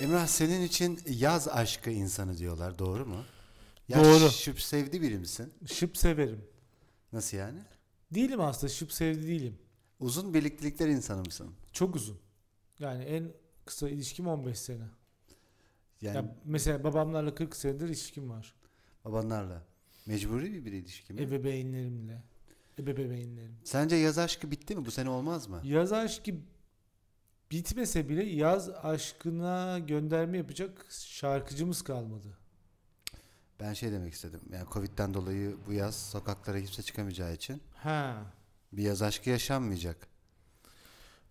Emrah senin için yaz aşkı insanı diyorlar doğru mu? Ya Doğru. Şıp sevdi biri misin? Şıp severim. Nasıl yani? Değilim aslında şıp sevdi değilim. Uzun birliktelikler insanı mısın? Çok uzun. Yani en kısa ilişkim 15 sene. Yani Ya mesela babamlarla 40 senedir ilişkim var. babanlarla. Mecburi bir, bir ilişki mi? Ebeveynlerimle. Ebeveynlerim. Sence yaz aşkı bitti mi? Bu sene olmaz mı? Yaz aşkı bitmese bile yaz aşkına gönderme yapacak şarkıcımız kalmadı. Ben şey demek istedim. Yani Covid'den dolayı bu yaz sokaklara kimse çıkamayacağı için Ha. bir yaz aşkı yaşanmayacak.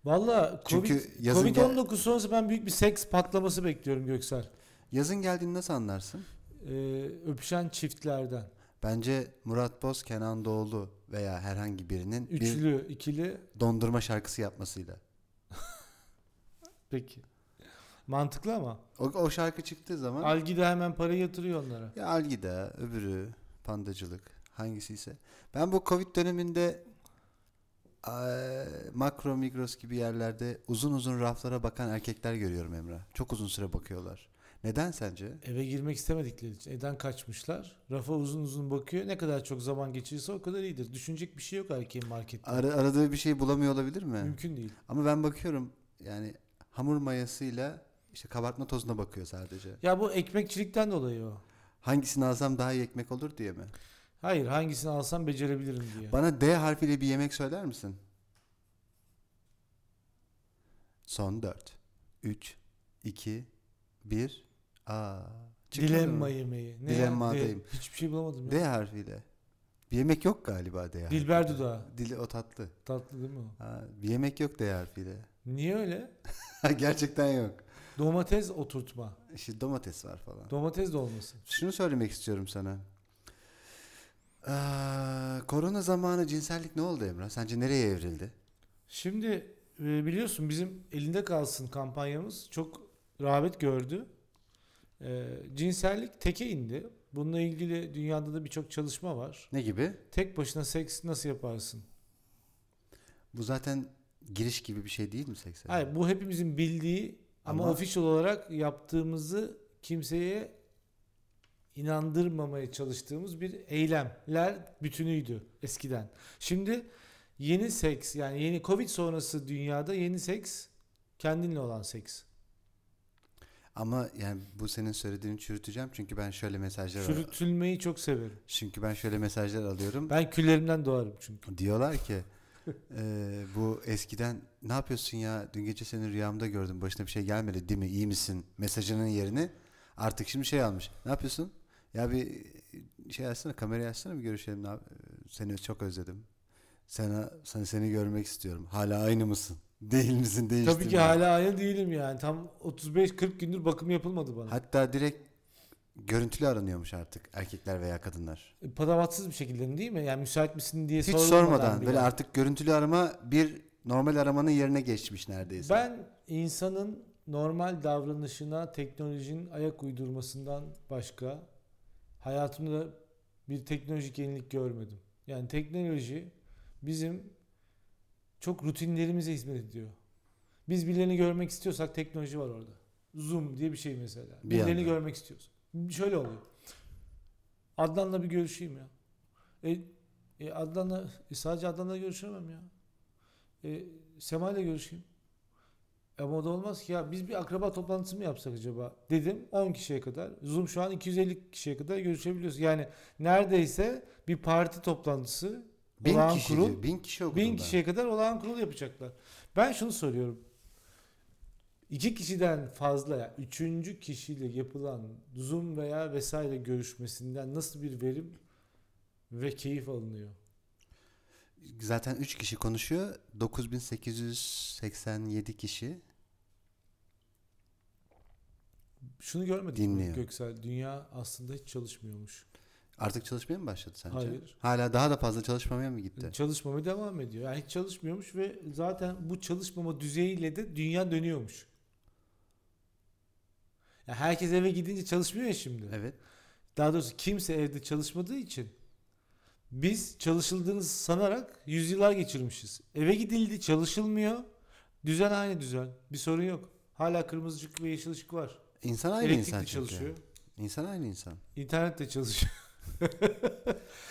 Valla Çünkü yazın gel- Covid-19 sonrası ben büyük bir seks patlaması bekliyorum Göksel. Yazın geldiğini nasıl anlarsın? Ee, öpüşen çiftlerden. Bence Murat Boz, Kenan Doğulu veya herhangi birinin bir Üçlü, ikili. dondurma şarkısı yapmasıyla. Peki. Mantıklı ama. O, o şarkı çıktığı zaman Algi de hemen parayı yatırıyor onlara. ya Algida, öbürü pandacılık hangisi ise. Ben bu Covid döneminde eee, makro migros gibi yerlerde uzun uzun raflara bakan erkekler görüyorum Emrah. Çok uzun süre bakıyorlar. Neden sence? Eve girmek istemedikleri için evden kaçmışlar. Rafa uzun uzun bakıyor. Ne kadar çok zaman geçirirse o kadar iyidir. Düşünecek bir şey yok erkeğin markette. Ara- aradığı bir şey bulamıyor olabilir mi? Mümkün değil. Ama ben bakıyorum yani hamur mayasıyla işte kabartma tozuna bakıyor sadece. Ya bu ekmekçilikten dolayı o. Hangisini alsam daha iyi ekmek olur diye mi? Hayır hangisini alsam becerebilirim diye. Bana D harfiyle bir yemek söyler misin? Son 4 3 2 1 A. Dilemma yemeği. ya? Dilemma'dayım. De- Hiçbir şey bulamadım. Ya. D harfiyle. Bir yemek yok galiba D harfiyle. Dilber dudağı. Dili o tatlı. Tatlı değil mi o? Ha, bir yemek yok D harfiyle. Niye öyle? Gerçekten yok. Domates oturtma. İşte domates var falan. Domates dolması. Şunu söylemek istiyorum sana. Ee, korona zamanı cinsellik ne oldu Emrah? Sence nereye evrildi? Şimdi e, biliyorsun bizim elinde kalsın kampanyamız çok rağbet gördü. E, cinsellik teke indi. Bununla ilgili dünyada da birçok çalışma var. Ne gibi? Tek başına seks nasıl yaparsın? Bu zaten giriş gibi bir şey değil mi seksen? Hayır bu hepimizin bildiği ama, Ama- official olarak yaptığımızı kimseye inandırmamaya çalıştığımız bir eylemler bütünüydü eskiden. Şimdi yeni seks yani yeni Covid sonrası dünyada yeni seks kendinle olan seks. Ama yani bu senin söylediğini çürüteceğim çünkü ben şöyle mesajlar Çürütülmeyi çok severim. çünkü ben şöyle mesajlar alıyorum. Ben küllerimden doğarım çünkü. Diyorlar ki e, bu eskiden ne yapıyorsun ya dün gece seni rüyamda gördüm başına bir şey gelmedi değil mi iyi misin mesajının yerini artık şimdi şey almış ne yapıyorsun ya bir şey açsana kamerayı açsana bir görüşelim ne yap- seni çok özledim sana, sana seni görmek istiyorum hala aynı mısın değil misin değiştin Tabii ki mi? hala aynı değilim yani. Tam 35-40 gündür bakım yapılmadı bana. Hatta direkt görüntülü aranıyormuş artık erkekler veya kadınlar. E, Patavatsız bir şekilde mi değil mi? Yani müsait misin diye Hiç sorulmadan sormadan bile. böyle artık görüntülü arama bir normal aramanın yerine geçmiş neredeyse. Ben insanın normal davranışına teknolojinin ayak uydurmasından başka hayatımda bir teknolojik yenilik görmedim. Yani teknoloji bizim çok rutinlerimize hizmet ediyor. Biz birilerini görmek istiyorsak teknoloji var orada. Zoom diye bir şey mesela. Bir birilerini anda. görmek istiyoruz. Şöyle oluyor. Adnan'la bir görüşeyim ya. E, e Adnan'la e sadece Adnan'la görüşemem ya. E, Sema'yla görüşeyim. E, Ama o da olmaz ki ya biz bir akraba toplantısı mı yapsak acaba dedim 10 kişiye kadar. Zoom şu an 250 kişiye kadar görüşebiliyoruz. Yani neredeyse bir parti toplantısı bin olağan kişi, kurul- diyor, bin kişi okudum Bin ben. kişiye kadar olağan kurul yapacaklar. Ben şunu soruyorum. İki kişiden fazla, yani üçüncü kişiyle yapılan Zoom veya vesaire görüşmesinden nasıl bir verim ve keyif alınıyor? Zaten 3 kişi konuşuyor. 9887 kişi. Şunu görmedik mi Dinliyor. Göksel? Dünya aslında hiç çalışmıyormuş. Artık çalışmaya mı başladı sence? Hayır. Hala daha da fazla çalışmamaya mı gitti? Çalışmamaya devam ediyor. Yani hiç çalışmıyormuş ve zaten bu çalışmama düzeyiyle de dünya dönüyormuş. Ya herkes eve gidince çalışmıyor ya şimdi. Evet. Daha doğrusu kimse evde çalışmadığı için biz çalışıldığını sanarak yüzyıllar geçirmişiz. Eve gidildi, çalışılmıyor. Düzen aynı düzen. Bir sorun yok. Hala kırmızı ışık ve yeşil ışık var. İnsan aynı Elektrikli insan çünkü. çalışıyor. İnsan aynı insan. İnternet de çalışıyor.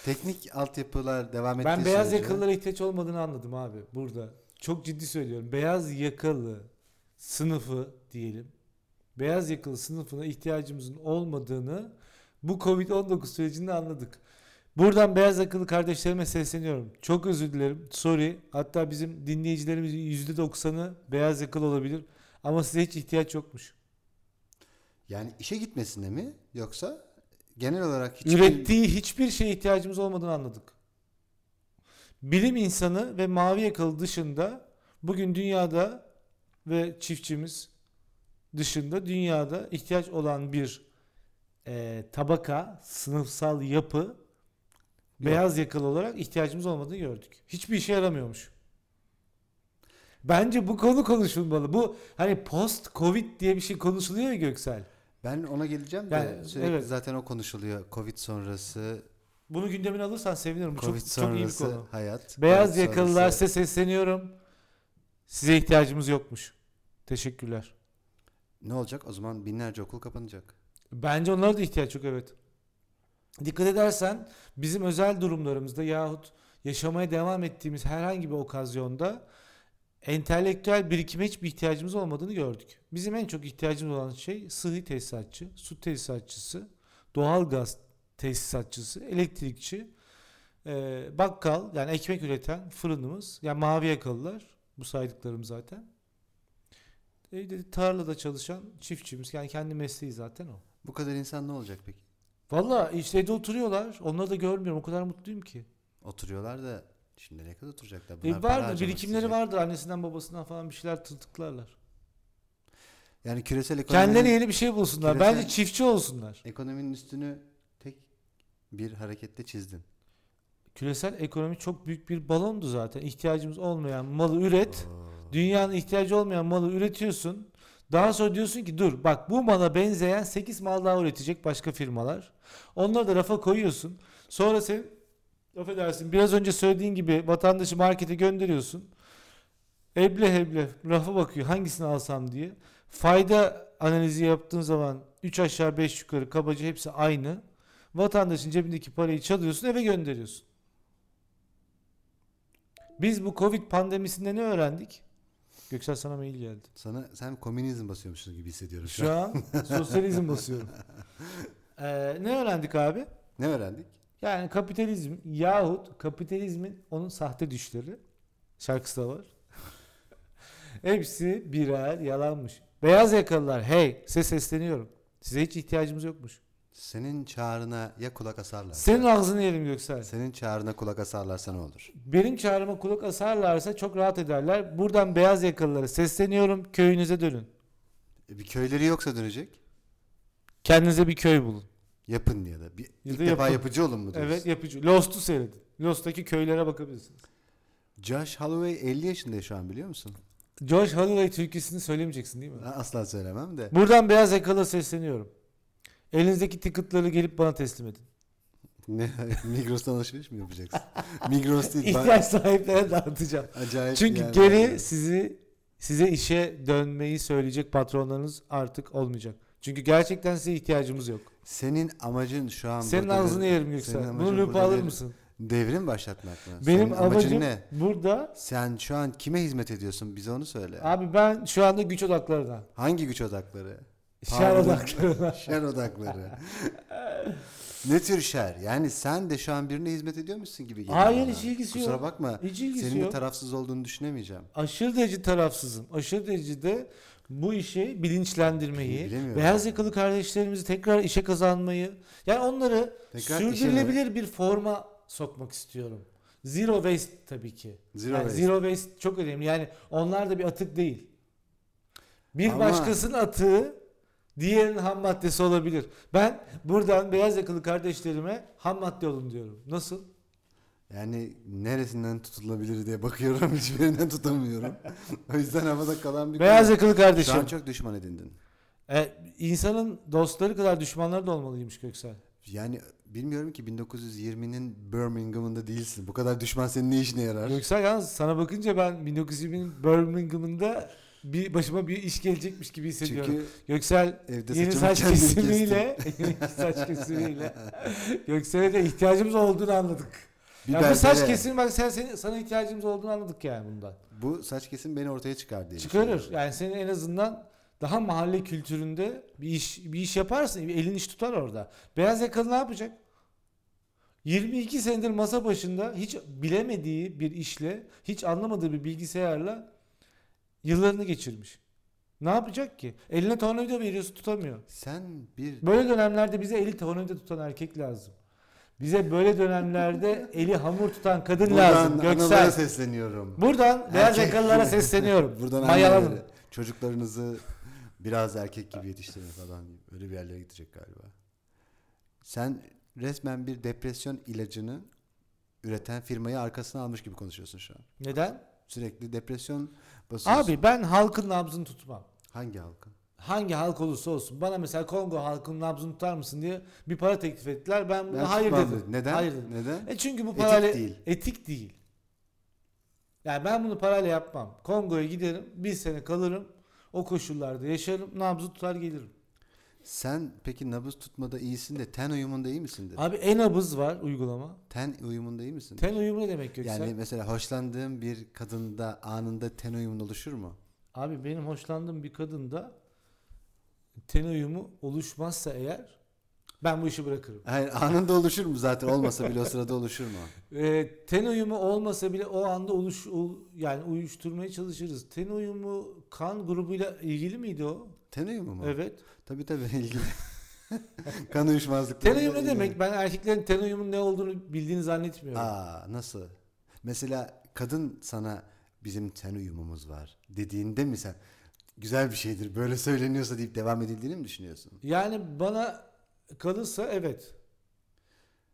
Teknik altyapılar devam ettiği ben beyaz sürece- yakalılara ihtiyaç olmadığını anladım abi burada. Çok ciddi söylüyorum. Beyaz yakalı sınıfı diyelim. Beyaz yakalı sınıfına ihtiyacımızın olmadığını bu Covid-19 sürecinde anladık. Buradan beyaz yakalı kardeşlerime sesleniyorum. Çok özür dilerim. Sorry. Hatta bizim dinleyicilerimizin %90'ı beyaz yakalı olabilir. Ama size hiç ihtiyaç yokmuş. Yani işe gitmesine mi yoksa genel olarak hiç Ürettiği hiçbir şeye ihtiyacımız olmadığını anladık. Bilim insanı ve mavi yakalı dışında bugün dünyada ve çiftçimiz dışında dünyada ihtiyaç olan bir e, tabaka, sınıfsal yapı beyaz yakalı olarak ihtiyacımız olmadığını gördük. Hiçbir işe yaramıyormuş. Bence bu konu konuşulmalı. Bu hani post covid diye bir şey konuşuluyor ya Göksel. Ben ona geleceğim de Yani, sürekli evet. zaten o konuşuluyor. Covid sonrası, Bunu gündemine alırsan sevinirim. Bu Covid çok, çok iyi bir sonrası konu. hayat. Beyaz Covid yakalılar sonrası- size sesleniyorum. Size ihtiyacımız yokmuş. Teşekkürler. Ne olacak? O zaman binlerce okul kapanacak. Bence onlara da ihtiyaç yok evet. Dikkat edersen bizim özel durumlarımızda yahut yaşamaya devam ettiğimiz herhangi bir okazyonda entelektüel birikime hiçbir ihtiyacımız olmadığını gördük. Bizim en çok ihtiyacımız olan şey sıhhi tesisatçı, su tesisatçısı, doğalgaz tesisatçısı, elektrikçi, e, bakkal yani ekmek üreten fırınımız, yani mavi yakalılar bu saydıklarım zaten. E, dedi, tarlada çalışan çiftçimiz yani kendi mesleği zaten o. Bu kadar insan ne olacak peki? Valla işlerde oturuyorlar. Onları da görmüyorum. O kadar mutluyum ki. Oturuyorlar da şimdi ne kadar oturacaklar? E Bunlar para vardır. harcamak Birikimleri isteyecek. vardır. Annesinden babasından falan bir şeyler tırtıklarlar. Yani küresel ekonominin, Kendilerine yeni bir şey bulsunlar. Küresel- Bence çiftçi olsunlar. ekonominin üstünü tek bir harekette çizdin. Küresel ekonomi çok büyük bir balondu zaten. İhtiyacımız olmayan malı üret. Oo. Dünyanın ihtiyacı olmayan malı üretiyorsun. Daha sonra diyorsun ki dur bak bu mala benzeyen 8 mal daha üretecek başka firmalar. Onları da rafa koyuyorsun. Sonra sen affedersin biraz önce söylediğin gibi vatandaşı markete gönderiyorsun. Eble heble rafa bakıyor hangisini alsam diye. Fayda analizi yaptığın zaman 3 aşağı 5 yukarı kabaca hepsi aynı. Vatandaşın cebindeki parayı çalıyorsun eve gönderiyorsun. Biz bu Covid pandemisinde ne öğrendik? Göksel sana mail geldi. Sana sen komünizm basıyormuşsun gibi hissediyorum şu, Şu an. an sosyalizm basıyorum. Ee, ne öğrendik abi? Ne öğrendik? Yani kapitalizm yahut kapitalizmin onun sahte düşleri şarkısı da var. Hepsi birer yalanmış. Beyaz yakalılar hey size sesleniyorum. Size hiç ihtiyacımız yokmuş. Senin çağrına ya kulak asarlar. Senin ağzını yerim Göksel. Senin çağrına kulak asarlarsa ne olur? Benim çağrıma kulak asarlarsa çok rahat ederler. Buradan beyaz yakalılara sesleniyorum. Köyünüze dönün. E, bir köyleri yoksa dönecek. Kendinize bir köy bulun. Yapın ya da. Bir, Ya ilk da defa yapın. yapıcı olun mu diyorsun? Evet yapıcı. Lost'u seyredin. Lost'taki köylere bakabilirsiniz. Josh Holloway 50 yaşında şu an biliyor musun? Josh Holloway türküsünü söylemeyeceksin değil mi? Ben Asla söylemem de. Buradan beyaz yakalı sesleniyorum. Elinizdeki ticketları gelip bana teslim edin. Ne, Migros'tan alışveriş mi yapacaksın? Migros değil. ben- İhtiyaç sahiplerine dağıtacağım. acayip Çünkü yani. geri sizi size işe dönmeyi söyleyecek patronlarınız artık olmayacak. Çünkü gerçekten size ihtiyacımız yok. Senin amacın şu an Senin burada ağzını bir- yerim senin Göksel. amacın Bunu lüpe burada alır bir mısın? Devrim başlatmak mı? Benim Senin amacın amacım ne? burada Sen şu an kime hizmet ediyorsun? Bize onu söyle. abi ben şu anda güç odaklarına, Hangi güç odakları? şer Pardon. odaklarına. Şer odakları. ne tür şer? Yani sen de şu an birine hizmet ediyormuşsun gibi geliyor. Hayır, bana. hiç ilgisi Kusura yok. bakma. Hiç ilgisi Senin de yok. tarafsız olduğunu düşünemeyeceğim. aşırı derece tarafsızım. Aşırı derecede bu işi bilinçlendirmeyi, Bilemiyorum. beyaz yakalı kardeşlerimizi tekrar işe kazanmayı, yani onları Tekrar sürdürülebilir bir forma sokmak istiyorum. Zero waste tabii ki. Zero Yani waste. Zero waste çok önemli. Yani onlar da bir atık değil. Bir Ama- başkasının atığı diğerinin ham maddesi olabilir. Ben buradan beyaz yakalı kardeşlerime ham madde olun diyorum. Nasıl? Yani neresinden tutulabilir diye bakıyorum hiçbirinden tutamıyorum. o yüzden havada kalan bir Beyaz konu. yakalı kardeşim. Şu an çok düşman edindin. E, insanın dostları kadar düşmanları da olmalıymış Göksel. Yani bilmiyorum ki 1920'nin Birmingham'ında değilsin. Bu kadar düşman senin ne işine yarar? Göksel yalnız sana bakınca ben 1920'nin Birmingham'ında bir başıma bir iş gelecekmiş gibi hissediyorum. Çünkü Göksel evde saçımı yeni saç kendim kestim. kesimiyle yeni saç kesimiyle Göksel'e de ihtiyacımız olduğunu anladık. Bir yani bu saç berbere. kesimi bak sen, senin- sana ihtiyacımız olduğunu anladık yani bundan. Bu saç kesim beni ortaya çıkar diye. Çıkarır. düşünüyorum. Yani senin en azından daha mahalle kültüründe bir iş bir iş yaparsın. Bir elin iş tutar orada. Beyaz yakalı ne yapacak? 22 senedir masa başında hiç bilemediği bir işle, hiç anlamadığı bir bilgisayarla yıllarını geçirmiş. Ne yapacak ki? Eline tornavida veriyorsun tutamıyor. Sen bir Böyle dönemlerde bize eli tornavida tutan erkek lazım. Bize böyle dönemlerde eli hamur tutan kadın lazım. buradan analara Göksel. sesleniyorum. Buradan beyaz Erkek- yakalılara sesleniyorum. Buradan Mayalanın. annelere, çocuklarınızı biraz erkek gibi yetiştirin falan gibi. Öyle bir yerlere gidecek galiba. Sen resmen bir depresyon ilacını üreten firmayı arkasına almış gibi konuşuyorsun şu an. Neden? Sürekli depresyon basıyorsun. Abi ben halkın nabzını tutmam. Hangi halkın? Hangi halk olursa olsun. Bana mesela Kongo halkının nabzını tutar mısın diye bir para teklif ettiler. Ben, buna Ben hayır tutmam dedim. dedim. Neden? Hayır dedim. Neden? E çünkü bu Etik parayla değil. etik değil. Yani ben bunu parayla yapmam. Kongo'ya giderim, bir sene kalırım. O koşullarda yaşarım, nabzı tutar gelirim. Sen peki nabız tutmada iyisin de ten uyumunda iyi misin? Abi en abız var uygulama. Ten uyumunda iyi misin? Ten uyumu ne demek Göksel? yani mesela hoşlandığın bir kadında anında ten uyumun oluşur mu? Abi benim hoşlandığım bir kadında ten uyumu oluşmazsa eğer ben bu işi bırakırım. Hayır anında oluşur mu zaten olmasa bile o sırada oluşur mu? E, ten uyumu olmasa bile o anda oluş ol- yani uyuşturmaya çalışırız. Ten uyumu kan grubuyla ilgili miydi o? Ten uyumu mu? Evet. Tabii tabii ilgili. kan uyuşmazlıkları. Ten uyumu ne demek? Ben erkeklerin ten uyumunun ne olduğunu bildiğini zannetmiyorum. Aa nasıl? Mesela kadın sana bizim ten uyumumuz var dediğinde mi sen güzel bir şeydir böyle söyleniyorsa deyip devam edildiğini mi düşünüyorsun? Yani bana kalırsa evet.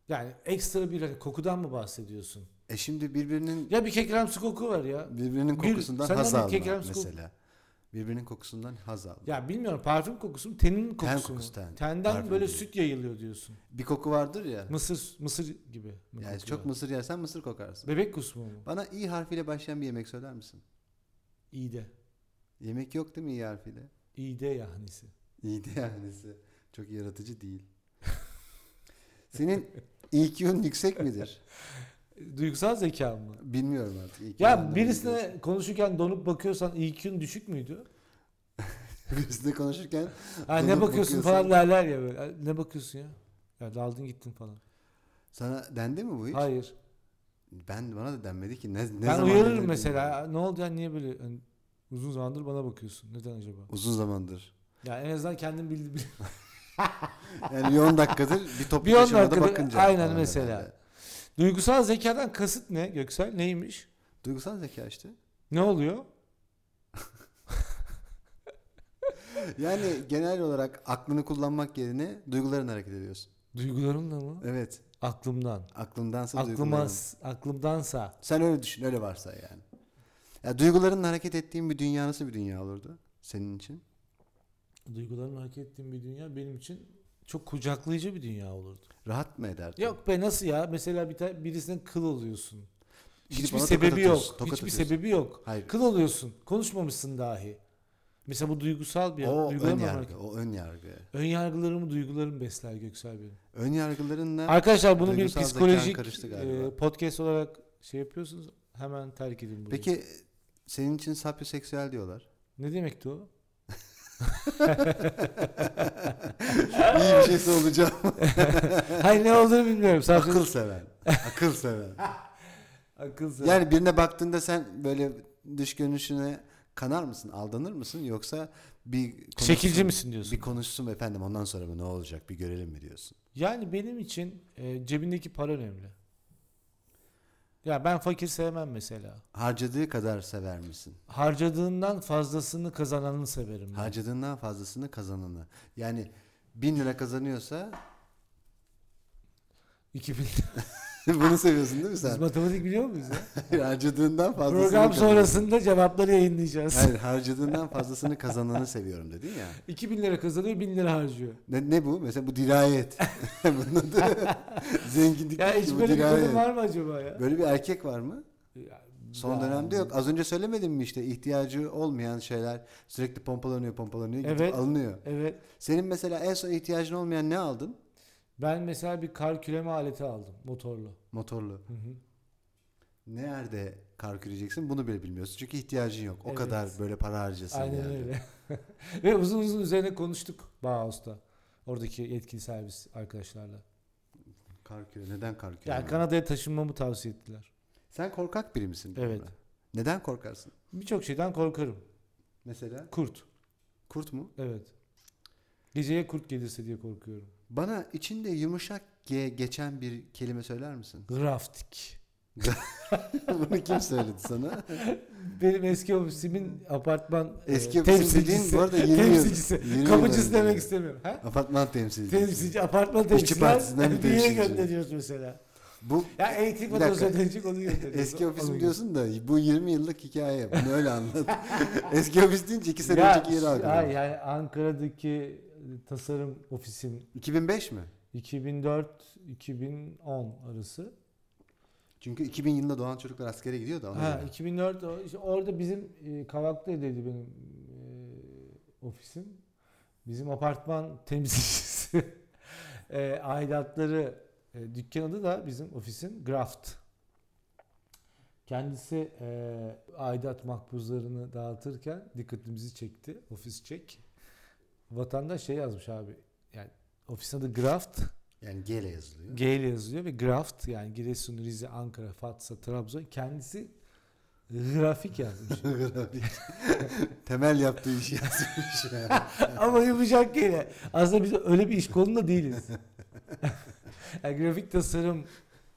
Yani ekstra bir hani kokudan mı bahsediyorsun? E şimdi birbirinin Ya bir kekremsi koku var ya. birbirinin Gül, kokusundan senden haz bir alma kekrem su- mesela. Birbirinin kokusundan haz alma. Ya bilmiyorum parfüm kokusu mu tenin kokusu mu? kokusu, ten. Tenden Parfüm böyle değil. süt yayılıyor diyorsun. Bir koku vardır ya. Mısır mısır gibi. mi yani kokuyor? çok mısır yersen mısır kokarsın. Bebek kusmu mu? Bana i harfiyle başlayan bir yemek söyler misin? İyi de. Yemek yok değil mi i harfiyle? İyi de yahnisi. İyiydi yani. Çok yaratıcı değil. Senin IQ'un yüksek midir? Duygusal zeka mı? Bilmiyorum artık. IQ Ya anlamını bilmiyorum. birisine konuşurken donup bakıyorsan IQ'un düşük müydü? birisine konuşurken Ha, ne Donup bakıyorsun bakıyorsan- falan derler ya böyle. Ha, Ne bakıyorsun ya? Ya daldın gittin falan. sana dendi mi bu hiç? Hayır. Ben bana da denmedi ki. Ne, ne ben zaman uyarırım denildi mesela. bilmiyorum. "Ha, Ne oldu ya niye böyle hani uzun zamandır bana bakıyorsun. Neden acaba? Uzun zamandır. Ya en azından kendim bildim. Yani bir 10 dakikadır bir toplu Bir 10 taşımada dakikada- bakınca. aynen falan mesela. herhalde. Duygusal zekadan kasıt ne Göksel? Neymiş? Duygusal zeka işte. Ne oluyor? Yani genel olarak aklını kullanmak yerine duyguların hareket ediyorsun. Duygularımla mı? Evet. Aklımdan. Aklındansa Aklıma, duyguların. aklımdansa. Sen öyle düşün, öyle varsa yani. Ya duygularınla hareket ettiğin bir dünya nasıl bir dünya olurdu senin için? Duygularımla hak ettiğim bir dünya benim için çok kucaklayıcı bir dünya olurdu. Rahat mı ederdin? Yok be nasıl ya? Mesela bir ta- birisinin kıl oluyorsun. Gidip Hiçbir ona tokat sebebi yok. atıyorsun, tokat Hiçbir atıyorsun. sebebi yok. Hayır. Kıl oluyorsun. Konuşmamışsın dahi. Mesela bu duygusal bir o ön duygularımla yargı, hareket- o ön yargı. Ön yargılarımı, duygularımı besler Göksel benim. Ön yargılarınla Arkadaşlar bunu bir duygusal zekan psikolojik karıştı e, galiba. podcast olarak şey yapıyorsunuz. Hemen terk edin bunu. Peki senin için sapyoseksüel diyorlar. Ne demekti o? İyi bir şey şeyse olacağım. Hayır ne olduğunu bilmiyorum. Sadece Akıl seven. Akıl seven. akıl zaten. yani birine baktığında sen böyle dış görünüşüne kanar mısın? Aldanır mısın? Yoksa bir konuşsun- Şekilci misin diyorsun? Bir konuşsun efendim ondan sonra mı ne olacak bir görelim mi diyorsun? Yani benim için e, cebindeki para önemli. Ya ben fakir sevmem mesela. Harcadığı kadar sever misin? Harcadığından fazlasını kazananı severim. Ben. Harcadığından fazlasını kazananı. Yani bin lira kazanıyorsa 2000 bunu seviyorsun değil mi Biz sen? matematik biliyor muyuz ya? Hayır, harcadığından fazlasını Program kazananı. sonrasında cevapları yayınlayacağız. Hayır harcadığından fazlasını kazananı seviyorum dedin ya. 2000 lira kazanıyor 1000 lira harcıyor. Ne, ne bu? Mesela bu dirayet. Bunun adı zenginlik Ya değil hiç ki, bu böyle bir dirayet. kadın var mı acaba ya? Böyle bir erkek var mı? Ya Son Yani- dönemde yok. Az önce söylemedim mi işte ihtiyacı olmayan şeyler sürekli pompalanıyor pompalanıyor gidip Evet. alınıyor. Evet. Senin mesela en son ihtiyacın olmayan ne aldın? Ben mesela bir kar küreme aleti aldım motorlu. Motorlu. Hı hı. Nerede kar küreceksin bunu bile bilmiyorsun. Çünkü ihtiyacın yok. O Evet. kadar böyle para harcasın Aynen yani. öyle. Ve uzun uzun üzerine konuştuk Bauhaus'ta. Oradaki yetkili servis arkadaşlarla. Kar küre. Neden kar küre? Yani Kanada'ya taşınmamı tavsiye ettiler. Sen korkak biri misin? bu Evet. arada? Neden korkarsın? Birçok şeyden korkarım. Mesela Kurt. kurt mu? Evet. Geceye kurt gelirse diye korkuyorum. Bana içinde yumuşak G geçen bir kelime söyler misin? Graftik. Bunu kim söyledi sana? Benim eski ofisimin apartman e, Eski ofisin temsilcisi. dediğin bu arada 20 yıl. temsilcisi. 20 yıl Kapıcısı önce. demek istemiyorum. Ha? Apartman temsilcisi. Temsilci, apartman İşçi temsilcisinden partisinden bir bir yere temsilci. gönderiyoruz mesela. Bu Ya eğitim Bir dakika. odası ödenecek onu gönderiyoruz. eski ofisim Onu diyorsun da bu 20 yıllık hikaye. Bunu öyle anlat. eski ofis deyince 2 sene önceki yeri hayır, aklıma. yani Ankara'daki tasarım ofisim 2005 mi? 2004-2010 arası. Çünkü 2000 yılında doğan çocuklar askere gidiyordu ona Ha, göre. 2004 o- işte orada bizim e, Kavaklı'daydı benim e, ofisim. Bizim apartman temsilcisi e, aidatları e, dükkan adı da bizim ofisin Graft. Kendisi e, aidat makbuzlarını dağıtırken dikkatimizi çekti. Ofis çek. Vatandaş şey yazmış abi. Yani ofisin adı Graft. Yani G ile yazılıyor. G ile yazılıyor ve graft yani Giresun, Rize, Ankara, Fatsa, Trabzon kendisi grafik yazmış. Grafik. Temel yaptığı işi yazmış. yani. Ama yapacak yine. Aslında biz öyle bir iş kolunda değiliz. yani grafik tasarım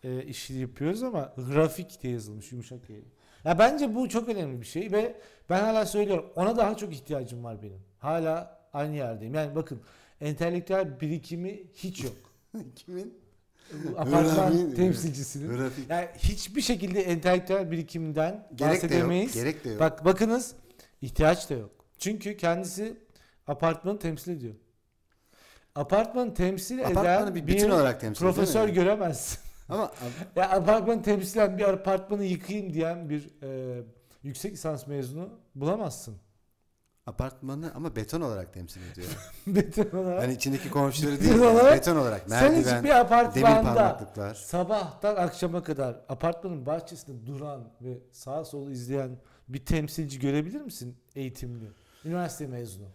e, işi yapıyoruz ama grafik diye yazılmış yumuşak G. Ya bence bu çok önemli bir şey ve ben hala söylüyorum ona daha çok ihtiyacım var benim. Hala aynı yerdeyim. Yani bakın entelektüel birikimi hiç yok. Kimin? Bu Apartman Grafiğin- temsilcisinin. Grafik. Yani hiçbir şekilde entelektüel birikimden Gerek de yok. bahsedemeyiz. Gerek de yok. Bak bakınız ihtiyaç da yok. Çünkü kendisi apartmanı temsil ediyor. Apartmanı temsil Apartmanı eden bir bir, bütün olarak temsil ediyor, profesör değil mi? göremez. Ama ya apartmanı temsilen bir apartmanı yıkayayım diyen bir e, yüksek lisans mezunu bulamazsın. apartmanı ama beton olarak temsil ediyor. Beton olarak. Yani Hani içindeki komşuları Beton değil. yani, olarak- beton olarak. Sen Merdiven, hiçbir demir apartmanda parmaklıklar. Sabahtan akşama kadar apartmanın bahçesinde duran ve sağa sola izleyen bir temsilci görebilir misin eğitimli? Üniversite mezunu.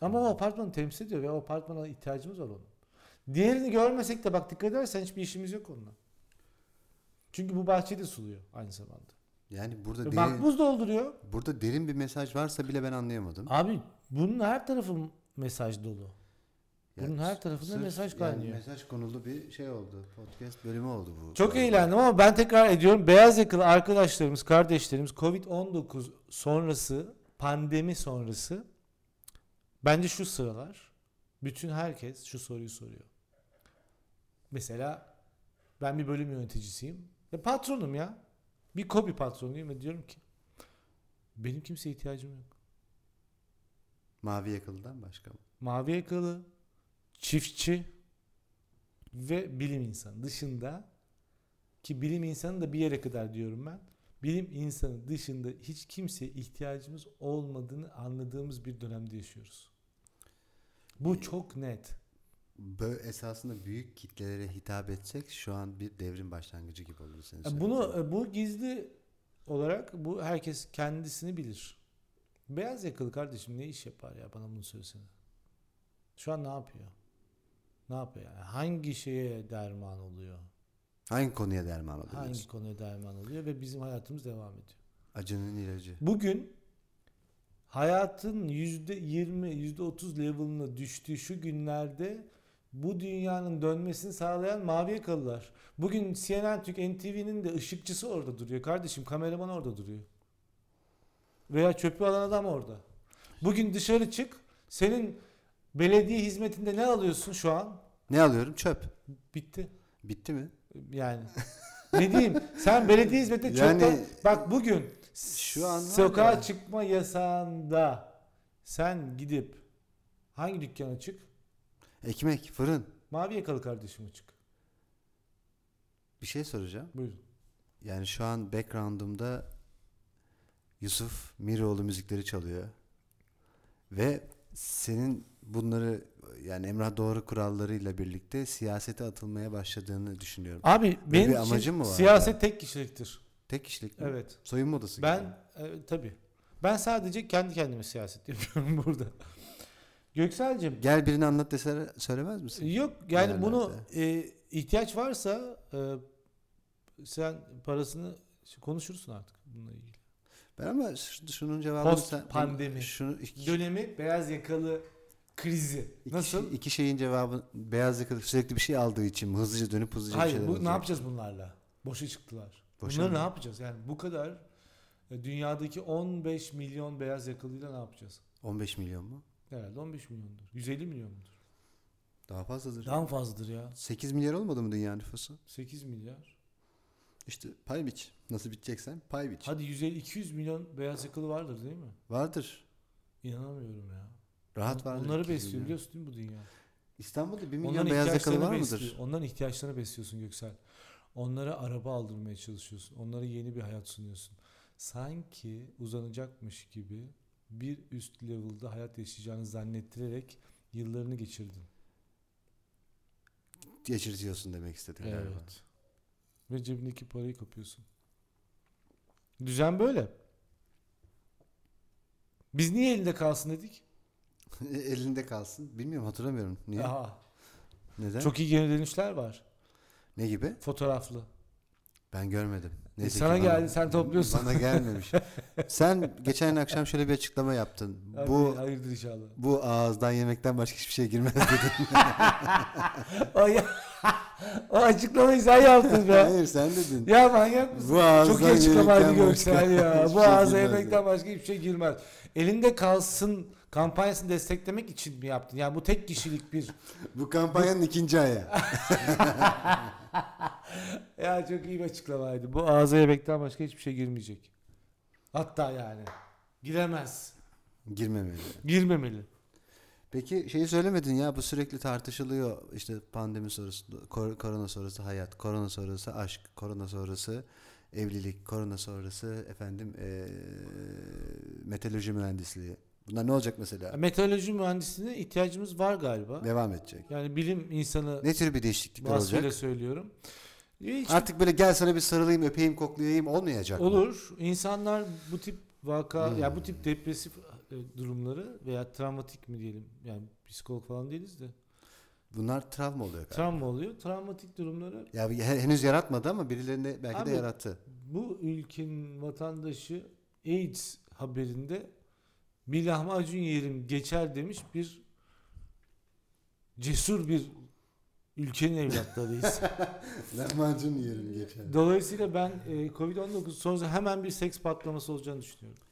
Ama o apartmanı temsil ediyor ve o apartmana ihtiyacımız var onun. Diğerini görmesek de bak dikkat edersen hiçbir işimiz yok onunla. Çünkü bu bahçeyi de suluyor aynı zamanda. Yani burada Ve derin, Makbuz dolduruyor. burada derin bir mesaj varsa bile ben anlayamadım. Abi bunun her tarafı mesaj dolu. Yani bunun her tarafında sırf mesaj yani kaynıyor. mesaj konulu bir şey oldu. Podcast bölümü oldu bu. Çok Bu arada. eğlendim ama ben tekrar ediyorum. Beyaz yakalı arkadaşlarımız, kardeşlerimiz Covid-19 sonrası, pandemi sonrası bence şu sıralar bütün herkes şu soruyu soruyor. Mesela ben bir bölüm yöneticisiyim. Ve patronum ya. Bir copy patronuyum ve diyorum ki benim kimseye ihtiyacım yok. Mavi yakalıdan başka mı? mavi yakalı, çiftçi ve bilim insanı dışında ki bilim insanı da bir yere kadar diyorum ben. Bilim insanı dışında hiç kimseye ihtiyacımız olmadığını anladığımız bir dönemde yaşıyoruz. Bu çok net. Böyle esasında büyük kitlelere hitap etsek şu an bir devrim başlangıcı gibi olur senin E, söylediğin. Bunu e, bu gizli olarak bu herkes kendisini bilir. Beyaz yakalı kardeşim ne iş yapar ya bana bunu söylesene. Şu an ne yapıyor? Ne yapıyor yani? Hangi şeye derman oluyor? hangi konuya derman Hangi olabilir? konuya derman oluyor ve bizim hayatımız devam ediyor. Acının ilacı. Bugün hayatın yüzde yirmi, yüzde otuz level'ına düştüğü şu günlerde bu dünyanın dönmesini sağlayan mavi yakalılar. Bugün CNN Türk NTV'nin de ışıkçısı orada duruyor. Kardeşim kameraman orada duruyor. Veya çöpü alan adam orada. Bugün dışarı çık. Senin belediye hizmetinde ne alıyorsun şu an? Ne alıyorum? Çöp. Bitti. Bitti mi? Yani ne diyeyim? Sen belediye hizmetinde Yani- çoktan bak bugün Şu an var sokağa ya. çıkma yasağında sen gidip hangi dükkana çık? Ekmek, fırın. Mavi yakalı kardeşime çık. Bir şey soracağım. Buyurun. Yani şu an background'umda Yusuf Miroğlu müzikleri çalıyor. Ve senin bunları yani Emrah Doğru kurallarıyla birlikte siyasete atılmaya başladığını düşünüyorum. Abi benim bir için amacın mı var siyaset tek kişiliktir. Tek kişilik mi? Evet. Soyunma odası gibi. Ben e, tabii. Ben sadece kendi kendime siyaset yapıyorum burada. Göksel'cim Gel birini anlat desene söylemez misin? Yok yani Nerelerde? bunu e, ihtiyaç varsa e, sen parasını konuşursun artık bununla ilgili. Ben ama ş- şunun cevabını Post sen- pandemi. Şunu iki, Dönemi beyaz yakalı krizi. iki Nasıl? şey- iki şeyin cevabı beyaz yakalı sürekli bir şey aldığı için mi? Hızlıca dönüp hızlıca bir Hayır şeyler bu ne alacak. yapacağız bunlarla? Boşa çıktılar. şey Boşa Bunları mı? ne yapacağız? Yani bu kadar e, dünyadaki 15 milyon beyaz yakalıyla ne yapacağız? 15 milyon mu? Herhalde 15 milyondur. 150 milyon mudur? Daha fazladır. Daha mı fazladır ya? 8 milyar olmadı mı dünya nüfusu? 8 milyar. İşte pay biç. Nasıl biteceksen pay biç. Hadi 150 200 milyon beyaz yakalı vardır değil mi? Vardır. İnanamıyorum ya. Rahat Bun- vardır. Bunları 200 besliyor milyon. biliyorsun değil mi bu dünya? İstanbul'da 1 milyon Onların beyaz yakalı ihtiyaçlarını var besliyor. mıdır? Onların ihtiyaçlarını besliyorsun Göksel. Onlara araba aldırmaya çalışıyorsun. Onlara yeni bir hayat sunuyorsun. Sanki uzanacakmış gibi bir üst level'da hayat yaşayacağını zannettirerek yıllarını geçirdin. Geçirtiyorsun demek istedim galiba. Ve cebindeki parayı kapıyorsun. Düzen böyle. Biz niye elinde kalsın dedik? E, Elinde kalsın. Bilmiyorum hatırlamıyorum. Niye? Aha, Neden? çok iyi geri dönüşler var. Ne gibi? Fotoğraflı. Ben görmedim. E, sana ki geldi, sen topluyorsun. Bana gelmemiş. sen geçen akşam şöyle bir açıklama yaptın. Bu... Bu Hayırdır inşallah. bu ağızdan yemekten başka hiçbir şey girmez dedin. o, ya, o açıklamayı sen yaptın be. Hayır sen dedin. ya manyak mısın? Bu ağızdan Çok iyi açıklamaydı yemekten Göksel başka ya. hiçbir Bu şey ağza girmez yemekten başka hiçbir şey girmez. Elinde kalsın kampanyasını desteklemek için mi yaptın? Yani bu tek kişilik bir. Bu kampanyanın ikinci ayağı. ya çok iyi bir açıklamaydı. Bu ağza yemekten başka hiçbir şey girmeyecek. Hatta yani. Giremez. Girmemeli. Girmemeli. Peki şeyi söylemedin ya bu sürekli tartışılıyor. İşte pandemi sorusu, kor- korona sorusu hayat, korona sorusu aşk, korona sorusu evlilik, korona sorusu efendim eee meteoroloji mühendisliği. Bunlar ne olacak mesela? Meteoroloji mühendisliğine ihtiyacımız var galiba. Devam edecek. Yani bilim insanı Ne tür bir değişiklikler vasfıyla olacak? söylüyorum. Hiç Artık böyle gel sana bir sarılayım, öpeyim, koklayayım olmayacak mı? Olur. İnsanlar bu tip vaka ya bu tip depresif e, durumları veya travmatik mi diyelim? Yani psikolog falan değiliz de. Bunlar travma oluyor galiba. Travma oluyor. Travmatik durumları Ya bir- he- henüz yaratmadı ama birilerine belki Abi- de yarattı. bu ülkenin vatandaşı AIDS haberinde bir lahmacun yerim geçer demiş bir cesur bir ülkenin evlatlarıyız. Lahmacun yerim geçen. Dolayısıyla ben e, Covid-19 sonrası hemen bir seks patlaması olacağını düşünüyorum.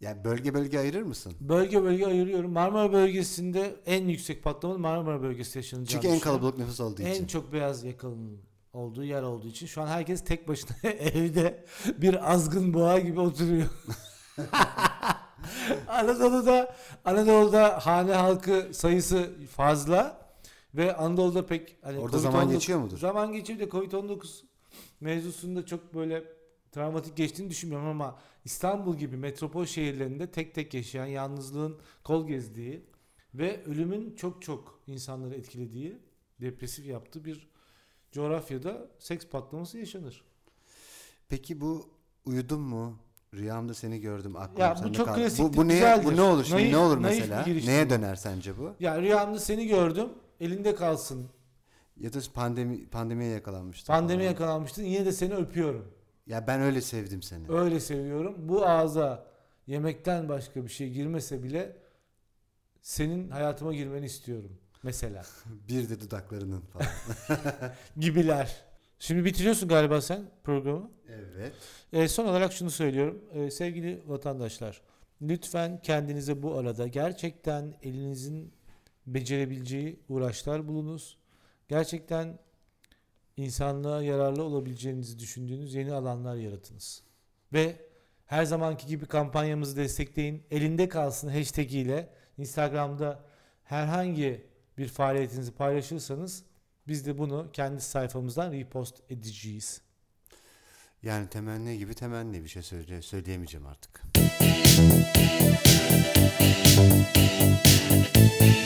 Yani bölge bölge ayırır mısın? Bölge bölge ayırıyorum. Marmara bölgesinde en yüksek patlama Marmara bölgesi yaşanacağını Çünkü en düşünüyorum. kalabalık nüfus olduğu için. şey En çok beyaz yakalının olduğu yer olduğu için şu an herkes tek başına evde bir azgın boğa gibi oturuyor. Anadolu'da Anadolu'da hane halkı sayısı fazla ve Anadolu'da pek hani Orada zaman Covid-19 geçiyor mudur? Zaman geçiyor de Covid-19 mevzusunda çok böyle travmatik geçtiğini düşünmüyorum ama İstanbul gibi metropol şehirlerinde tek tek yaşayan yalnızlığın kol gezdiği ve ölümün çok çok insanları etkilediği, depresif yaptığı bir coğrafyada seks patlaması yaşanır. Peki bu uyudum mu? Rüyamda seni gördüm aklım Ya bu sende çok kaldı. klasiktir, Bu, bu, neye, bu güzeldir. ne olur şimdi? Naif- ne olur naif bir mesela? girişim Neye bu. döner sence bu? Ya rüyamda seni gördüm, elinde kalsın. Ya da pandemi pandemiye yakalanmıştım. Pandemiye yakalanmıştın, yine de seni öpüyorum. Ya ben öyle sevdim seni. Öyle seviyorum. Bu ağza yemekten başka bir şey girmese bile senin hayatıma girmeni istiyorum. Mesela. bir de dudaklarının falan. Gibiler. Şimdi bitiriyorsun galiba sen programı. evet. E, son olarak şunu söylüyorum. E, sevgili vatandaşlar, lütfen kendinize bu arada gerçekten elinizin becerebileceği uğraşlar bulunuz. Gerçekten insanlığa yararlı olabileceğinizi düşündüğünüz yeni alanlar yaratınız. Ve her zamanki gibi kampanyamızı destekleyin. Elinde kalsın hashtag ile Instagram'da herhangi bir faaliyetinizi paylaşırsanız biz de bunu kendi sayfamızdan repost edeceğiz. Yani temenni gibi temenni bir şey söyle, söyleyemeyeceğim artık.